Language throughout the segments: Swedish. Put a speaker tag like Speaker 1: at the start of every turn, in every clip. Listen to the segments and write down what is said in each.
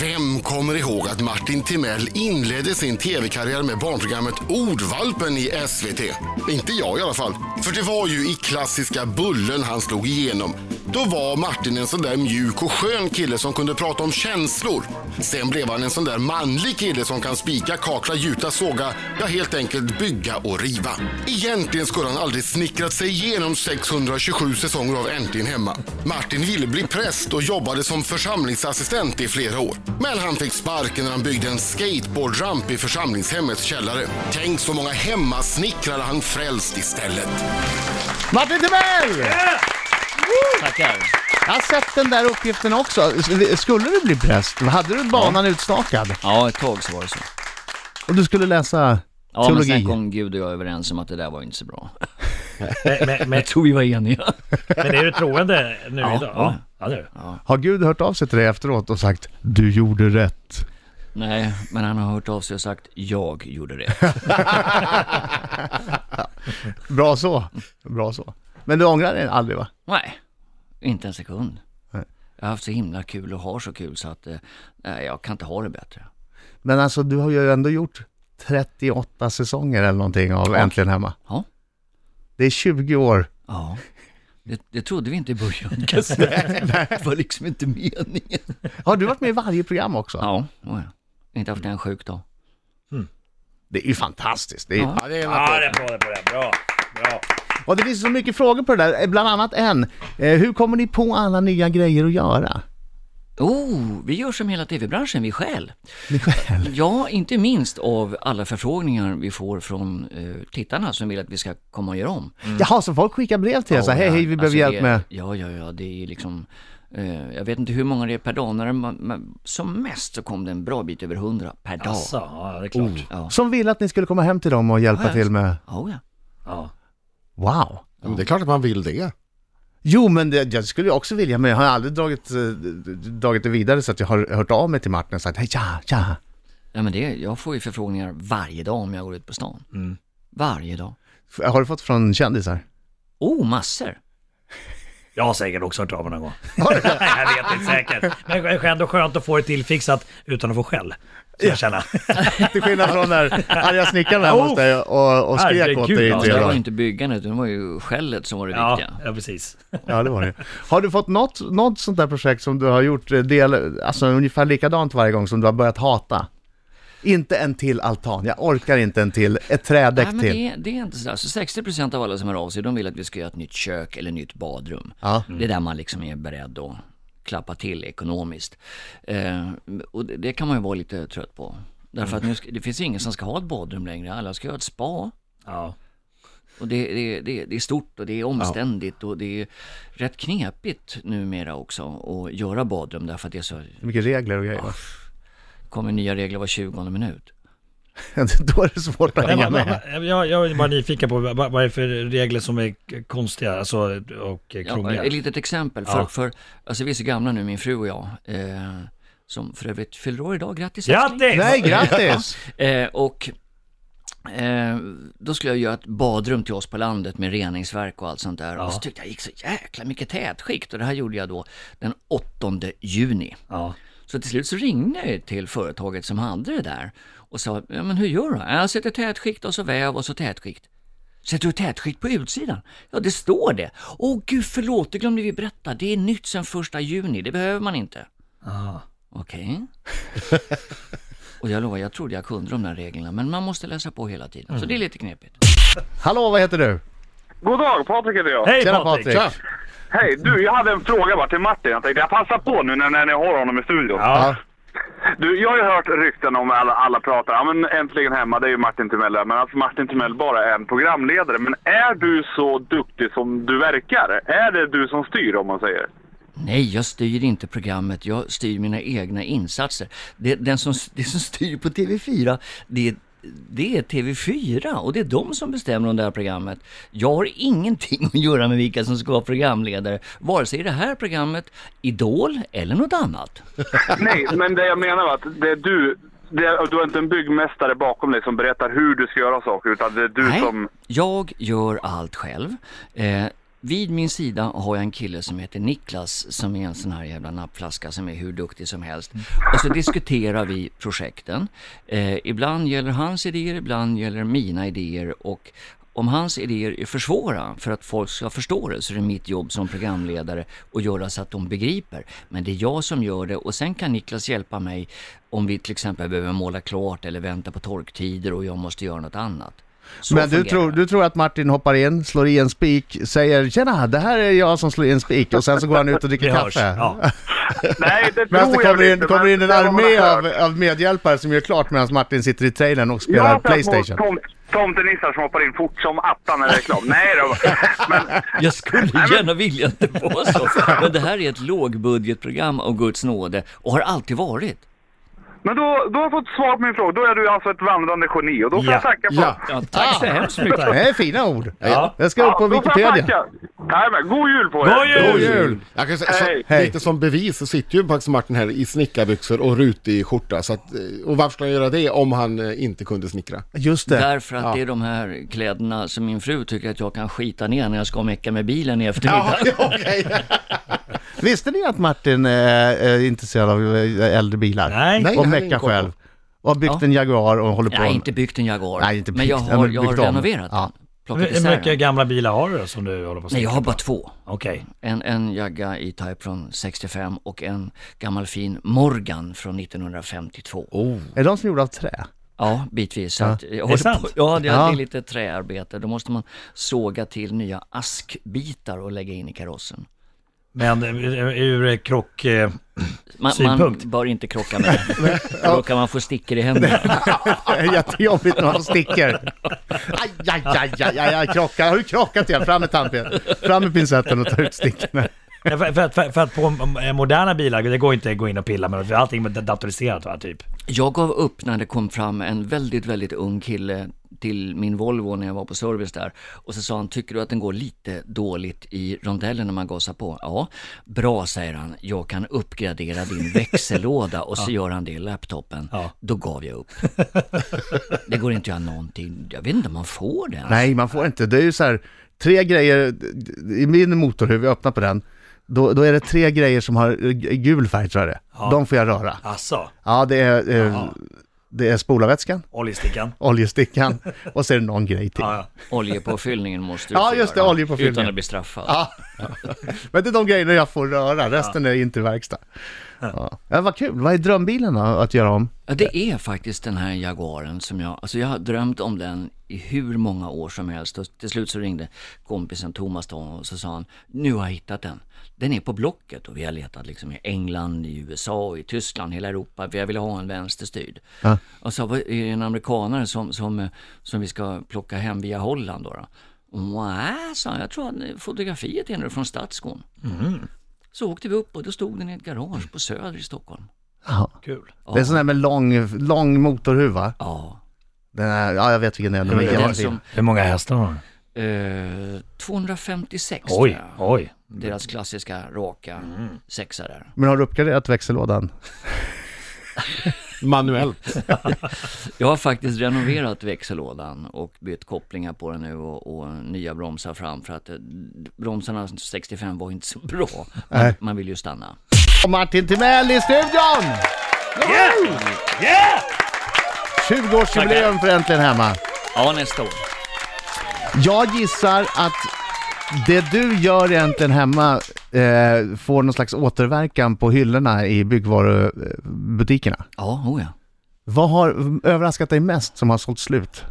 Speaker 1: Vem kommer ihåg att Martin Timell inledde sin tv-karriär med barnprogrammet Ordvalpen i SVT? Inte jag i alla fall. För det var ju i klassiska Bullen han slog igenom. Då var Martin en sån där mjuk och skön kille som kunde prata om känslor. Sen blev han en sån där manlig kille som kan spika, kakla, gjuta, såga, ja helt enkelt bygga och riva. Egentligen skulle han aldrig snickrat sig igenom 627 säsonger av Äntligen Hemma. Martin ville bli präst och jobbade som församlingsassistent i flera år. Men han fick sparken när han byggde en skateboardramp i församlingshemmets källare. Tänk så många hemmasnickrare han frälst istället.
Speaker 2: Martin Timell!
Speaker 3: Tackar.
Speaker 2: Jag har sett den där uppgiften också. S- Skulle du bli präst? Hade du banan utstakad?
Speaker 3: Ja, ett tag så var det så.
Speaker 2: Och du skulle läsa
Speaker 3: Ja,
Speaker 2: teologi?
Speaker 3: men sen kom Gud och jag överens om att det där var inte så bra.
Speaker 4: Men, men, men,
Speaker 3: Jag tror vi var eniga.
Speaker 4: men är du troende nu
Speaker 3: Ja,
Speaker 4: idag?
Speaker 3: ja.
Speaker 4: ja det är du.
Speaker 2: Har Gud hört av sig till dig efteråt och sagt du gjorde rätt?
Speaker 3: Nej, men han har hört av sig och sagt jag gjorde det.
Speaker 2: Bra så, bra så. Men du ångrar dig aldrig va?
Speaker 3: Nej, inte en sekund.
Speaker 2: Nej.
Speaker 3: Jag har haft så himla kul och har så kul så att eh, nej, jag kan inte ha det bättre.
Speaker 2: Men alltså du har ju ändå gjort 38 säsonger eller någonting av Äntligen Hemma.
Speaker 3: Ja,
Speaker 2: Det är 20 år.
Speaker 3: ja. Det, det trodde vi inte i början. kan jag säga. det var liksom inte meningen.
Speaker 2: Har du varit med i varje program också?
Speaker 3: Ja, oh ja. inte haft en sjuk dag.
Speaker 2: Det är ju fantastiskt. Det är...
Speaker 3: Ja.
Speaker 2: det är en
Speaker 4: Ja,
Speaker 2: applåd.
Speaker 4: det är bra, det är bra, det är bra. bra.
Speaker 2: Och det finns så mycket frågor på det där, bland annat en. Eh, hur kommer ni på alla nya grejer att göra?
Speaker 3: Oh, vi gör som hela tv-branschen, vi stjäl. Ja, inte minst av alla förfrågningar vi får från eh, tittarna som vill att vi ska komma och göra om.
Speaker 2: Jaha, så folk skickar brev till er så här, hej hej vi behöver
Speaker 3: Mm. Alltså,
Speaker 2: hjälp
Speaker 3: det,
Speaker 2: med...
Speaker 3: Ja, ja, ja, det är liksom... Eh, jag vet inte hur många det är per dag, när det, man, man, som mest så kom det en bra bit över hundra per dag.
Speaker 2: Alltså.
Speaker 4: Asså, ja, det är klart.
Speaker 3: Ja.
Speaker 2: Som ville att ni skulle komma hem till dem och hjälpa
Speaker 3: Ja, ja.
Speaker 2: till med...
Speaker 3: Oh, ja.
Speaker 4: Ja.
Speaker 2: Wow!
Speaker 1: Ja, men Det är klart att man vill det.
Speaker 2: Jo, men det, jag skulle ju också vilja, men jag har aldrig dragit, eh, dragit det vidare så att jag har hört av mig till Martin och sagt hej, tja, tja.
Speaker 3: ja, men det, jag får ju förfrågningar varje dag om jag går ut på stan.
Speaker 2: Mm.
Speaker 3: Varje dag.
Speaker 2: F- Har du fått från kändisar?
Speaker 3: Oh, massor.
Speaker 4: Jag har säkert också hört av mig någon gång. Nej, jag vet inte säkert. Men det är ändå skönt att få det tillfixat utan att få skäll. Så jag känner.
Speaker 2: Till skillnad från när arga snickaren här hos dig och, och skrek åt dig
Speaker 4: Herregud,
Speaker 2: i
Speaker 3: Ja,
Speaker 4: alltså,
Speaker 2: tre
Speaker 3: det var ju
Speaker 2: dagar.
Speaker 3: inte byggandet, utan det var ju skället som var det
Speaker 4: Ja,
Speaker 3: viktiga.
Speaker 4: ja, precis.
Speaker 2: Ja, det var det. Har du fått något, något sånt där projekt som du har gjort eh, del, alltså ungefär likadant varje gång som du har börjat hata? Inte en till altan, jag orkar inte en till, ett trädäck
Speaker 3: Nej, men
Speaker 2: till.
Speaker 3: det, det är inte sådär. Så 60% av alla som hör av sig, de vill att vi ska göra ett nytt kök eller nytt badrum.
Speaker 2: Ja.
Speaker 3: Det är där man liksom är beredd att klappa till ekonomiskt. Eh, och det, det kan man ju vara lite trött på. Därför att nu ska, det finns ingen som ska ha ett badrum längre. Alla ska ha ett spa.
Speaker 4: Ja.
Speaker 3: Och det, det, det, det är stort och det är omständigt och det är rätt knepigt numera också att göra badrum därför att det är så,
Speaker 2: Mycket regler och grejer. va?
Speaker 3: kommer nya regler var 20 minut.
Speaker 2: Då är det svårt att
Speaker 4: Men,
Speaker 2: hänga
Speaker 4: men,
Speaker 2: med.
Speaker 4: men, jag, jag är bara nyfiken på vad vad är det för regler som är konstiga alltså, och
Speaker 3: Ja,
Speaker 4: krångliga.
Speaker 3: ett litet exempel. För,
Speaker 4: Ja.
Speaker 3: för, alltså vi är så gamla nu, min fru och jag, eh, som för övrigt fyller år idag. Grattis älskling.
Speaker 4: Grattis!
Speaker 2: Nej, grattis!
Speaker 3: Eh, och eh, då skulle jag göra ett badrum till oss på landet med reningsverk och allt sånt där. Och så tyckte jag gick så jäkla mycket tätskikt och det här gjorde jag då den 8 juni.
Speaker 4: Ja.
Speaker 3: Så till slut så ringde jag till företaget som hade det där och sa, ja men hur gör du? Jag sätter tätskikt och så väv och så tätskikt. Sätter du tätskikt på utsidan? Ja, det står det. Åh gud, förlåt, det glömde vi berätta. Det är nytt sedan första juni, det behöver man inte.
Speaker 4: Ja.
Speaker 3: Okej. och jag lovar, jag trodde jag kunde de där reglerna, men man måste läsa på hela tiden. Så det är lite knepigt.
Speaker 2: Hallå, vad heter du?
Speaker 5: God dag, Patrik heter jag. Hej.
Speaker 4: Hej
Speaker 2: Tjena
Speaker 4: Patrik!
Speaker 2: Patrik!
Speaker 5: du, jag hade en fråga bara till Martin. Jag tänkte jag passar på nu när, när ni har honom i studion.
Speaker 4: Ja.
Speaker 5: Du, jag har ju hört rykten om alla, alla pratar. Ja, men äntligen hemma, det är ju Martin Timell där. Men alltså Martin Timell bara är en programledare. Men är du så duktig som du verkar? Är det du som styr om man säger?
Speaker 3: Nej, jag styr inte programmet. Jag styr mina egna insatser. Det, den som, det som styr på TV4, det, det är TV4 och det är de som bestämmer om det här programmet. Jag har ingenting att göra med vilka som ska vara programledare, vare sig i det här programmet, Idol eller något annat.
Speaker 5: Nej, men det jag menar var att det är du. Det är, du har inte en byggmästare bakom dig som berättar hur du ska göra saker. Utan det är du
Speaker 3: Nej,
Speaker 5: som...
Speaker 3: jag gör allt själv. Eh, Vid min sida har jag en kille som heter Niklas som är en sån här jävla nappflaska som är hur duktig som helst. Och så diskuterar vi projekten. Eh, ibland gäller hans idéer, ibland gäller mina idéer och om hans idéer är för svåra för att folk ska förstå det så är det mitt jobb som programledare att göra så att de begriper. Men det är jag som gör det och sen kan Niklas hjälpa mig om vi till exempel behöver måla klart eller vänta på torktider och jag måste göra något annat. Så
Speaker 2: Men du
Speaker 3: fungerar
Speaker 2: tror,
Speaker 3: det.
Speaker 2: du tror att Martin hoppar in, slår i en spik, säger “Tjena, det här är jag som slår i en spik” och sen så går han ut och dricker
Speaker 4: Det hörs.
Speaker 2: kaffe?
Speaker 4: Ja.
Speaker 5: Nej,
Speaker 2: Medan det
Speaker 5: det tror jag
Speaker 2: alltså, kommer in,
Speaker 5: inte,
Speaker 2: kommer
Speaker 5: men
Speaker 2: in en
Speaker 5: det har man
Speaker 2: armé
Speaker 5: hört.
Speaker 2: av, av medhjälpare som gör klart medan Martin sitter i trailern och
Speaker 5: Jag
Speaker 2: spelar
Speaker 5: har
Speaker 2: Playstation.
Speaker 5: Tom, tomtenissar som hoppar in fort som attan när det är reklam. Nej då. Men,
Speaker 3: Jag skulle gärna vilja att det var så.
Speaker 2: Alltså.
Speaker 3: Men det här är ett lågbudgetprogram av Guds nåde och har alltid varit.
Speaker 5: men då, då har jag fått svar på min fråga. Då är du alltså ett vandrande geni och då får
Speaker 4: Ja.
Speaker 5: jag tacka för
Speaker 2: Ja,
Speaker 3: Ja, tack så hemskt mycket.
Speaker 2: det är fina ord.
Speaker 4: Ja.
Speaker 2: Det ska upp på
Speaker 5: då får jag
Speaker 2: Wikipedia.
Speaker 5: tacka. Nej, men, god jul på er!
Speaker 4: God jul!
Speaker 2: God jul!
Speaker 1: Jag kan säga, så,
Speaker 5: Hej.
Speaker 2: Hej.
Speaker 1: Lite som bevis så sitter ju faktiskt Martin här i snickarbyxor och rutig skjorta. Så att, eh, och varför skulle han göra det om han eh, inte kunde snickra?
Speaker 2: Just det.
Speaker 3: Därför att det är de här kläderna som min fru tycker att jag kan skita ner när jag ska mecka med bilen i eftermiddag.
Speaker 1: okej.
Speaker 2: Visste ni att Martin eh, är intresserad av eh, äldre bilar?
Speaker 4: Nej.
Speaker 1: Nej.
Speaker 2: Och
Speaker 1: jag hade ingen
Speaker 2: mecka
Speaker 1: koll på.
Speaker 2: själv. Och har byggt en Jaguar och håller på.
Speaker 3: Jag har inte byggt en Jaguar,
Speaker 2: Nej, inte
Speaker 3: men jag
Speaker 2: byggt. Ja,
Speaker 3: har,
Speaker 2: men
Speaker 3: jag har
Speaker 2: byggt om.
Speaker 3: renoverat
Speaker 2: Ja.
Speaker 3: den. Plockat
Speaker 4: Hur
Speaker 3: isär
Speaker 4: mycket
Speaker 3: den.
Speaker 4: gamla bilar har du då som du håller på att
Speaker 3: Nej, jag
Speaker 4: snicka
Speaker 3: har
Speaker 4: på?
Speaker 3: bara två.
Speaker 4: Okej.
Speaker 3: En, en Jagga E-Type från 65 och en gammal fin Morgan från 1952.
Speaker 2: Är de som gjorda av trä?
Speaker 3: Ja, bitvis. Så att jag håller
Speaker 4: sant?
Speaker 3: på, ja, det
Speaker 2: Ja.
Speaker 3: är lite träarbete. Då måste man såga till nya askbitar och lägga in i karossen.
Speaker 4: Men eh, ur eh, krock... eh,
Speaker 3: Man, man
Speaker 4: Synpunkt.
Speaker 3: bör inte krocka med den. Då kan man få stickor i händerna.
Speaker 2: Det är jättejobbigt när de sticker. Aj, aj, aj, aj, aj, aj krocka. Har du krockat igen? Fram med tandpen. Fram med pincetten och ta ut stickorna.
Speaker 4: Ja, För, för, att- för, för att på eh, moderna bilar, det går inte att gå in och pilla med något, för allting är datoriserat va, typ.
Speaker 3: Jag gav upp när det kom fram en väldigt, väldigt ung kille till min Volvo när jag var på service där. Och så sa han, tycker du att den går lite dåligt i rondellen när man gasar på? Ja, bra säger han, jag kan uppgradera din växellåda och så gör han det i laptopen.
Speaker 4: Ja.
Speaker 3: Då gav jag upp. Det går inte att göra någonting, jag vet inte om man får det.
Speaker 2: Nej, man får inte. Det är ju så här, tre grejer, i min motorhuv, jag öppnar på den, då, då är det tre grejer som har eh, gul färg tror jag det är. De får jag röra.
Speaker 4: Alltså,
Speaker 2: Ja, det är, eh, det är spolarvätskan,
Speaker 4: oljestickan.
Speaker 2: oljestickan och så är det någon grej till.
Speaker 4: Ja, ja.
Speaker 3: Oljepåfyllningen måste du
Speaker 2: Ja,
Speaker 3: få
Speaker 2: just det,
Speaker 3: göra,
Speaker 2: oljepåfyllningen.
Speaker 3: Utan att bli straffad.
Speaker 2: Ja. Men det är de grejerna jag får röra, resten är inte verkstad. Ja. Ja, vad kul, vad är drömbilen då, att göra om?
Speaker 3: Ja, det är faktiskt den här Jaguaren som jag, alltså jag har drömt om den i hur många år som helst och till slut så ringde kompisen Thomas då och så sa han, nu har jag hittat den. Den är på Blocket och vi har letat liksom i England, i USA, i Tyskland, hela Europa, för jag ville ha en vänsterstyrd. Och så var det en amerikanare som, som, som vi ska plocka hem via Holland då. då. Nej, sa han, jag tror att fotografiet är nu från Stadsgården.
Speaker 2: Mm.
Speaker 3: Så åkte vi upp och då stod den i ett garage på Söder i Stockholm.
Speaker 2: Jaha.
Speaker 4: Kul.
Speaker 2: Det är sån där med lång, lång motorhuva.
Speaker 3: Ja,
Speaker 2: Den är, ja, jag vet vilken det är. Den är
Speaker 4: Ja,
Speaker 3: Den
Speaker 2: jättefin.
Speaker 3: som,
Speaker 4: Hur många hästar har den?
Speaker 3: eh, 256 tror
Speaker 4: Oj,
Speaker 3: jag.
Speaker 4: oj.
Speaker 3: Deras klassiska raka sexa där.
Speaker 2: Men har du uppgraderat växellådan?
Speaker 1: Manuellt.
Speaker 3: Jag har faktiskt renoverat växellådan och bytt kopplingar på den nu och, och nya bromsar fram för att eh, bromsarna 65 var inte så bra. Man, man vill ju stanna.
Speaker 2: Och Martin Timell i studion!
Speaker 4: Yeah! Yeah!
Speaker 2: 20-årsjubileum för Äntligen Hemma.
Speaker 3: Ja, nästa år.
Speaker 2: Jag gissar att det du gör Äntligen Hemma eh, får någon slags återverkan på hyllorna i byggvarubutikerna.
Speaker 3: Ja, oh ja.
Speaker 2: Vad har överraskat dig mest som har sålt slut?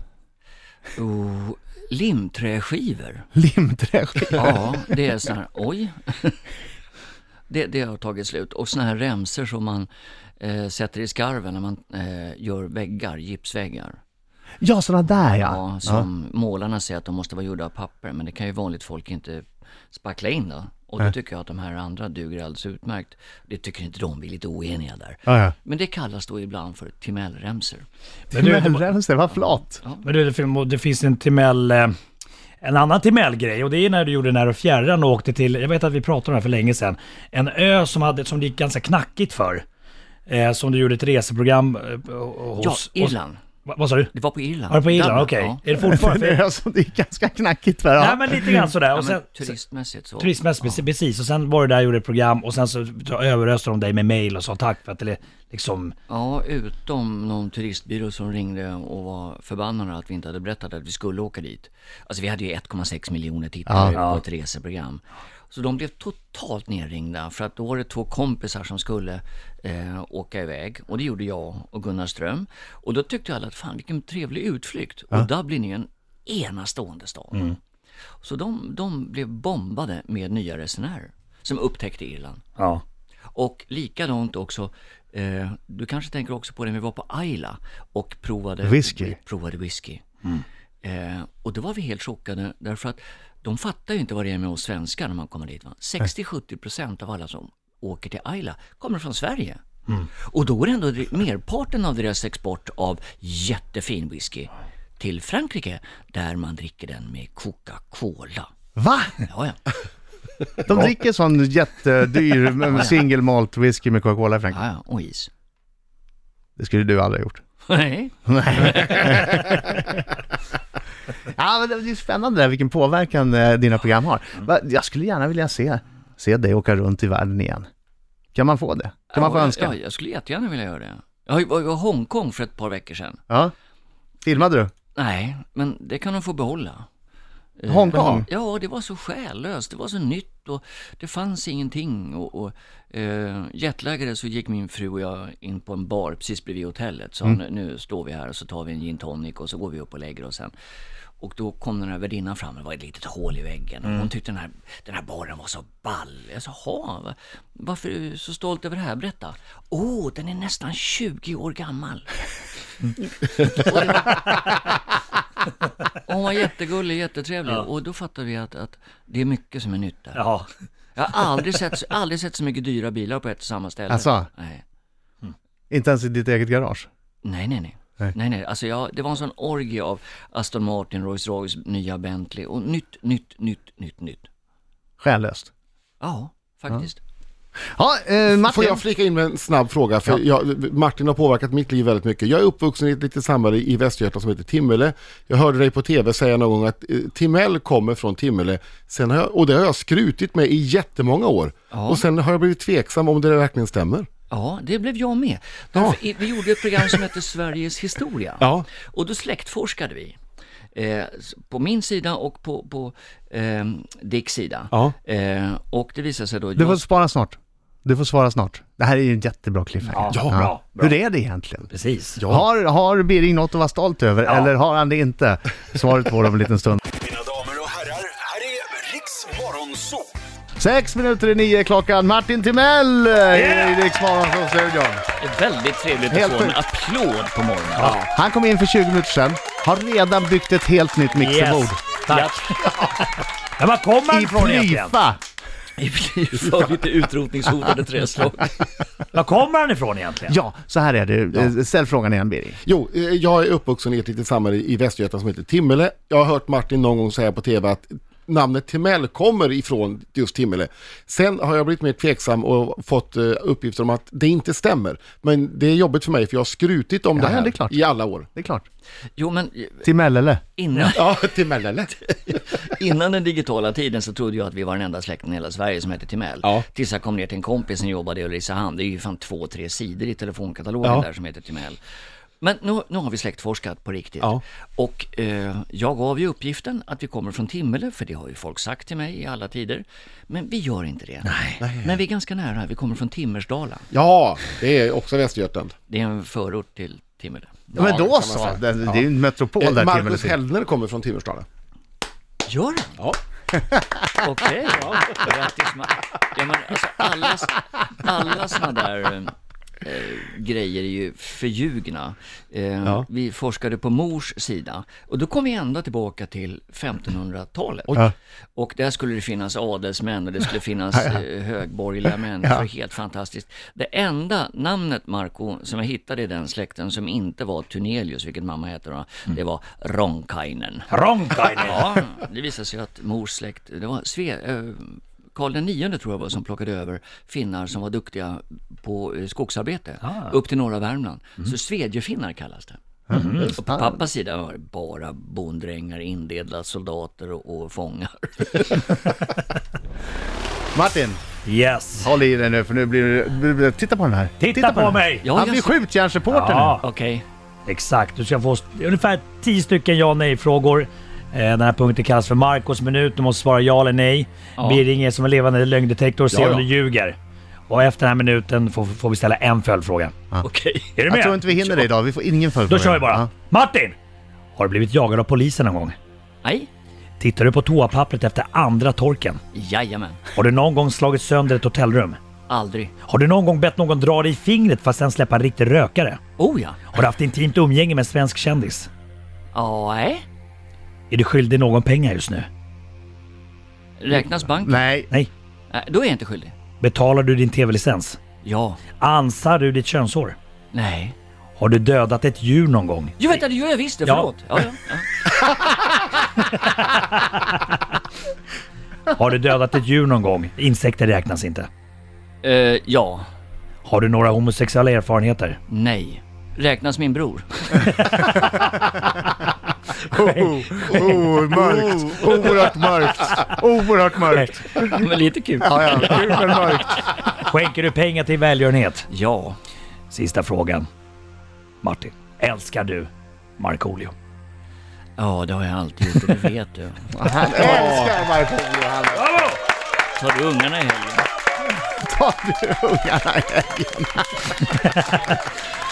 Speaker 3: Oh, limträskivor.
Speaker 2: Limträskivor.
Speaker 3: Ja, det är sådana här, oj. Det, det har tagit slut. Och sådana här remsor som man eh, sätter i skarven när man eh, gör väggar, gipsväggar.
Speaker 2: Ja, sådana där ja.
Speaker 3: Ja, som målarna säger att de måste vara gjorda av papper, men det kan ju vanligt folk inte spackla in då. Och då tycker jag att de här andra duger alldeles utmärkt. Det tycker inte de, vi är lite oeniga där.
Speaker 2: Ja, ja.
Speaker 3: Men det kallas då ibland för timellremsor.
Speaker 4: Men du, det-
Speaker 2: Timellremsor, vad flat.
Speaker 4: Men du, det fin- det finns en Timell... eh, En annan Timell-grej och det är när du gjorde När och fjärran och åkte till, jag vet att vi pratade om det här för länge sedan, en ö som, hade, som det gick ganska knackigt för. Eh, som du gjorde ett reseprogram eh, hos.
Speaker 3: Ja,
Speaker 4: hos-
Speaker 3: Irland.
Speaker 4: Va- Vad sa du?
Speaker 3: Det var på Irland.
Speaker 4: Var det på Irland?
Speaker 3: Danmark,
Speaker 4: Okej.
Speaker 3: ja.
Speaker 4: Är det fortfarande?
Speaker 2: Det är,
Speaker 4: för-
Speaker 2: alltså, det är ganska knackigt för
Speaker 4: Nej
Speaker 2: ja.
Speaker 4: men lite grann sådär.
Speaker 3: Ja,
Speaker 4: Och sen,
Speaker 3: men turistmässigt så.
Speaker 4: Turistmässigt, precis. Och sen var du där och gjorde ett program och sen så överöste de dig med mail och sa tack för att det liksom...
Speaker 3: Ja, utom någon turistbyrå som ringde och var förbannade att vi inte hade berättat att vi skulle åka dit. Alltså vi hade ju 1,6 miljoner tittare på ett reseprogram. Så de blev totalt nerringda för att då var det två kompisar som skulle eh, åka iväg. Och det gjorde jag och Gunnar Ström. Och då tyckte alla att fan vilken trevlig utflykt. Och Dublin är ju en enastående stad. Så de, de blev bombade med nya resenärer som upptäckte Irland.
Speaker 4: Ja.
Speaker 3: Och likadant också, eh, du kanske tänker också på det, vi var på Isla och provade
Speaker 2: Whisky.
Speaker 3: vi Provade whisky. Eh, och då var vi helt chockade därför att de fattar ju inte vad det är med oss svenskar när man kommer dit. va. 60-70% av alla som åker till Isla kommer från Sverige. Och då går ändå det- merparten av deras export av jättefin whisky till Frankrike där man dricker den med Coca-Cola.
Speaker 2: Va?
Speaker 3: Ja, ja.
Speaker 2: De dricker sån jättedyr men single malt whisky med Coca-Cola i Frankrike.
Speaker 3: ja, ja. Och is.
Speaker 2: Det skulle du aldrig ha gjort.
Speaker 3: Nej.
Speaker 2: Ja, men det det är spännande där, vilken påverkan eh, dina program har.
Speaker 3: Mm.
Speaker 2: Va, jag skulle gärna vilja se, se dig åka runt i världen igen. Kan man få det? Kan man få
Speaker 3: ja,
Speaker 2: önska?
Speaker 3: Ja, jag skulle jättegärna vilja göra det. Jag var jag var i Hongkong för ett par veckor sedan.
Speaker 2: Ja. Filmade du?
Speaker 3: Nej, men det kan de få behålla. Eh,
Speaker 2: Hongkong?
Speaker 3: Ja, det var så själlöst. Det var så nytt och det fanns ingenting. Och, och, eh, jetlaggade så gick min fru och jag in på en bar precis bredvid hotellet. Så nu, nu står vi här och så tar vi en gin tonic och så går vi upp och lägger oss sen. Och då kom den här värdinnan fram, det var ett litet hål i väggen. Och hon tyckte den här, den här baren var så ball. Jag sa, "Ha, va- varför är du så stolt över det här? Berätta. Åh, oh, den är nästan 20 år gammal. Och hon var jättegullig, jättetrevlig. Och då fattade vi att, att det är mycket som är nytt där.
Speaker 4: Ja.
Speaker 3: Jag har aldrig sett, aldrig sett så mycket dyra bilar på ett och samma ställe.
Speaker 2: Asså?
Speaker 3: Nej,
Speaker 2: Inte ens i ditt eget garage?
Speaker 3: nej, nej. nej.
Speaker 2: Nej.
Speaker 3: Nej, nej. Alltså jag, det var en sån orgie av Aston Martin, Rolls Royce, nya Bentley och nytt, nytt, nytt, nytt, nytt.
Speaker 2: Själlöst.
Speaker 3: Ja, faktiskt.
Speaker 2: Ja, eh,
Speaker 1: Får
Speaker 2: Martin.
Speaker 1: jag flika in med en snabb fråga? För jag, Martin har påverkat mitt liv väldigt mycket. Jag är uppvuxen i ett litet samhälle i Västergötland som heter Timmele. Jag hörde dig på tv säga någon gång att eh, Timmel kommer från Timmele. Sen har jag, och det har jag skrutit med i jättemånga år. Och sen har jag blivit tveksam om det verkligen stämmer.
Speaker 3: Ja, det blev jag med. Därför i- Vi gjorde ett program som hette Sveriges historia.
Speaker 1: Ja.
Speaker 3: Och då släktforskade vi. Eh, s- på min sida och på, på eh, Dicks sida.
Speaker 1: Ja.
Speaker 3: Eh, och det visade sig då...
Speaker 2: Du får
Speaker 4: Mm.
Speaker 2: svara snart. Du får svara snart. Det här är ju en jättebra cliffhanger.
Speaker 4: Ja, bra, bra.
Speaker 2: Hur är det egentligen?
Speaker 4: Precis.
Speaker 2: Har, har Birging något att vara stolt över eller har han det inte? Svaret får de om en liten stund.
Speaker 6: Mina damer och herrar, här är Riks Morgonzoo!
Speaker 2: Sex minuter i nio är klockan. Martin Timell yeah! i Rix Morgonzoo-studion.
Speaker 3: Väldigt trevligt
Speaker 2: Helt få en sjukt.
Speaker 3: applåd på morgonen.
Speaker 2: Han kom in för 20 minuter sedan, har redan byggt ett helt nytt mixerbord.
Speaker 4: Yes. Tack. Men var kommer han
Speaker 2: I
Speaker 4: ifrån egentligen?
Speaker 2: Plyfa!
Speaker 3: I för lite utrotningshotade träslag.
Speaker 4: Var kommer han ifrån egentligen?
Speaker 2: Ja, så här är det. Eh, Ställ frågan igen Birging.
Speaker 1: Jo, eh, jag är uppvuxen i ett litet samhälle i Västergötland som heter Timmele. Jag har hört Martin någon gång säga på tv att namnet Timmel kommer ifrån just Timmele. Sen har jag blivit mer tveksam och fått eh, uppgifter om att det inte stämmer. Men det är jobbigt för mig för jag har skrutit om det
Speaker 2: ja,
Speaker 1: här
Speaker 2: det är klart.
Speaker 1: i alla år.
Speaker 2: Det är klart.
Speaker 3: Jo, men
Speaker 2: Timellele.
Speaker 3: innan,
Speaker 1: Ja, Timmele.
Speaker 3: innan den digitala tiden så trodde jag att vi var den enda släkten i hela Sverige som hette Timell.
Speaker 1: Ja.
Speaker 3: Tills jag kom ner till en kompis som jobbade i Ulricehamn. Det är ju fan två, tre sidor i telefonkatalogen där som heter Timell. Men nu, nu har vi släktforskat på riktigt. Och eh, jag gav ju uppgiften att vi kommer från Timmele, för det har ju folk sagt till mig i alla tider. Men vi gör inte det. Nej. Men vi är ganska nära, vi kommer från Timmersdala.
Speaker 1: Ja, det är också Västergötland.
Speaker 3: Det är en förort till Timmele.
Speaker 2: Ja, men
Speaker 1: det kan
Speaker 2: då
Speaker 1: man
Speaker 2: så.
Speaker 1: säga.
Speaker 2: Det, det
Speaker 1: Ja.
Speaker 2: är ju en metropol
Speaker 1: Eh,
Speaker 2: där Timellele
Speaker 1: Marcus
Speaker 2: sitter.
Speaker 1: Hellner kommer från Timmersdala.
Speaker 3: Gör han?
Speaker 1: Ja.
Speaker 3: Okej, grattis Ma- ja, men alltså, alla, alla såna där eh, grejer är ju förljugna. Eh, Vi forskade på mors sida och då kom vi ända tillbaka till 1500-talet. Och där skulle det finnas adelsmän och det skulle finnas eh, högborgerliga människor, helt fantastiskt. Det enda namnet Marco som jag hittade i den släkten som inte var Tunelius, vilket mamma heter, då, det var Mm. Ronkainen.
Speaker 4: Ronkainen.
Speaker 3: Ja, det visade sig att mors släkt, det var Sve, eh, Karl den nionde tror jag var som plockade över finnar som var duktiga på eh, skogsarbete upp till norra Värmland. Så svedjefinnar kallas det. Och på pappas sida var det bara bonddrängar, indelade soldater och, och fångar.
Speaker 2: Martin,
Speaker 4: Yes.
Speaker 2: håll i dig nu för nu blir du... Titta på den här.
Speaker 4: Titta, på,
Speaker 2: den här.
Speaker 4: mig!
Speaker 3: Ja,
Speaker 2: Han
Speaker 3: jag
Speaker 2: blir
Speaker 3: ser-
Speaker 2: skjutjärnsreporter
Speaker 4: Ja.
Speaker 2: nu.
Speaker 3: Okej.
Speaker 4: Exakt, du ska få st- ungefär 10 stycken ja nej-frågor. Eh, Den här punkten kallas för Marcos minut. Du måste svara ja eller nej.
Speaker 3: Ja.
Speaker 4: Vi ringer som en levande lögndetektor och ser
Speaker 2: Ja,
Speaker 4: om
Speaker 2: ja.
Speaker 4: du ljuger. Och efter den här minuten får, får vi ställa en följdfråga.
Speaker 3: Okej.
Speaker 4: Är du med?
Speaker 2: Jag tror inte vi hinner det idag, vi får ingen följdfråga.
Speaker 4: Då kör vi bara.
Speaker 2: Ja.
Speaker 4: Martin! Har du blivit jagad av polisen någon gång?
Speaker 3: Nej.
Speaker 4: Tittar du på toapappret efter andra torken?
Speaker 3: Jajamän.
Speaker 4: Har du någon gång slagit sönder ett hotellrum?
Speaker 3: Aldrig.
Speaker 4: Har du någon gång bett någon dra dig i fingret för att sen släppa en riktig rökare?
Speaker 3: Oh ja.
Speaker 4: Har du haft intimt umgänge med en svensk kändis?
Speaker 3: Ja, nej.
Speaker 4: Är du skyldig någon pengar just nu?
Speaker 3: Räknas banken?
Speaker 2: Nej,
Speaker 4: Nej.
Speaker 3: Nej. Då är jag inte skyldig.
Speaker 4: Betalar du din tv-licens?
Speaker 3: Ja.
Speaker 4: Ansar du ditt könshår?
Speaker 3: Nej.
Speaker 4: Har du dödat ett djur någon gång?
Speaker 3: Jo, vänta, det gör jag visst det.
Speaker 4: Ja.
Speaker 3: Förlåt. Ja, ja, ja.
Speaker 4: Har du dödat ett djur någon gång? Insekter räknas inte.
Speaker 3: Eh, ja.
Speaker 4: Har du några homosexuella erfarenheter?
Speaker 3: Nej. Räknas min bror?
Speaker 2: oh, mörkt. Oerhört mörkt. Oerhört mörkt.
Speaker 3: Men lite kul.
Speaker 2: Ja, ja, kul men mörkt.
Speaker 4: Skänker du pengar till välgörenhet?
Speaker 3: Ja.
Speaker 4: Sista frågan. Martin, älskar du Markoolio?
Speaker 3: Ja, det har jag alltid gjort. och Det vet du.
Speaker 2: Han älskar Markoolio. Han
Speaker 3: Tar du ungarna i helgen?
Speaker 2: tar du ungarna.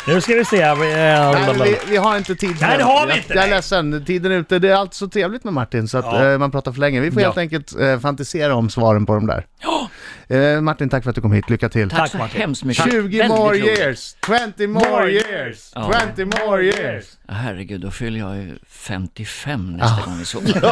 Speaker 4: Nu ska vi se.
Speaker 2: Nej, men vi, vi har inte tid för
Speaker 4: Nej, det
Speaker 2: den.
Speaker 4: har vi inte,
Speaker 2: Jag, jag är
Speaker 4: nej.
Speaker 2: ledsen, tiden är ute. Det är alltid så trevligt med Martin så att
Speaker 4: Ja.
Speaker 2: eh, man pratar för länge. Vi får
Speaker 4: Ja.
Speaker 2: helt enkelt eh, fantisera om svaren på de där. Eh, Martin, tack för att du kom hit. Lycka till.
Speaker 3: Tack,
Speaker 4: Tack,
Speaker 3: så
Speaker 4: Martin.
Speaker 3: hemskt mycket.
Speaker 2: 20
Speaker 3: Väldigt
Speaker 2: more
Speaker 3: roligt.
Speaker 2: years! 20 more
Speaker 4: More
Speaker 2: years! 20 more years!
Speaker 3: Ja, Herregud, då fyller jag ju 55 nästa gång vi såg.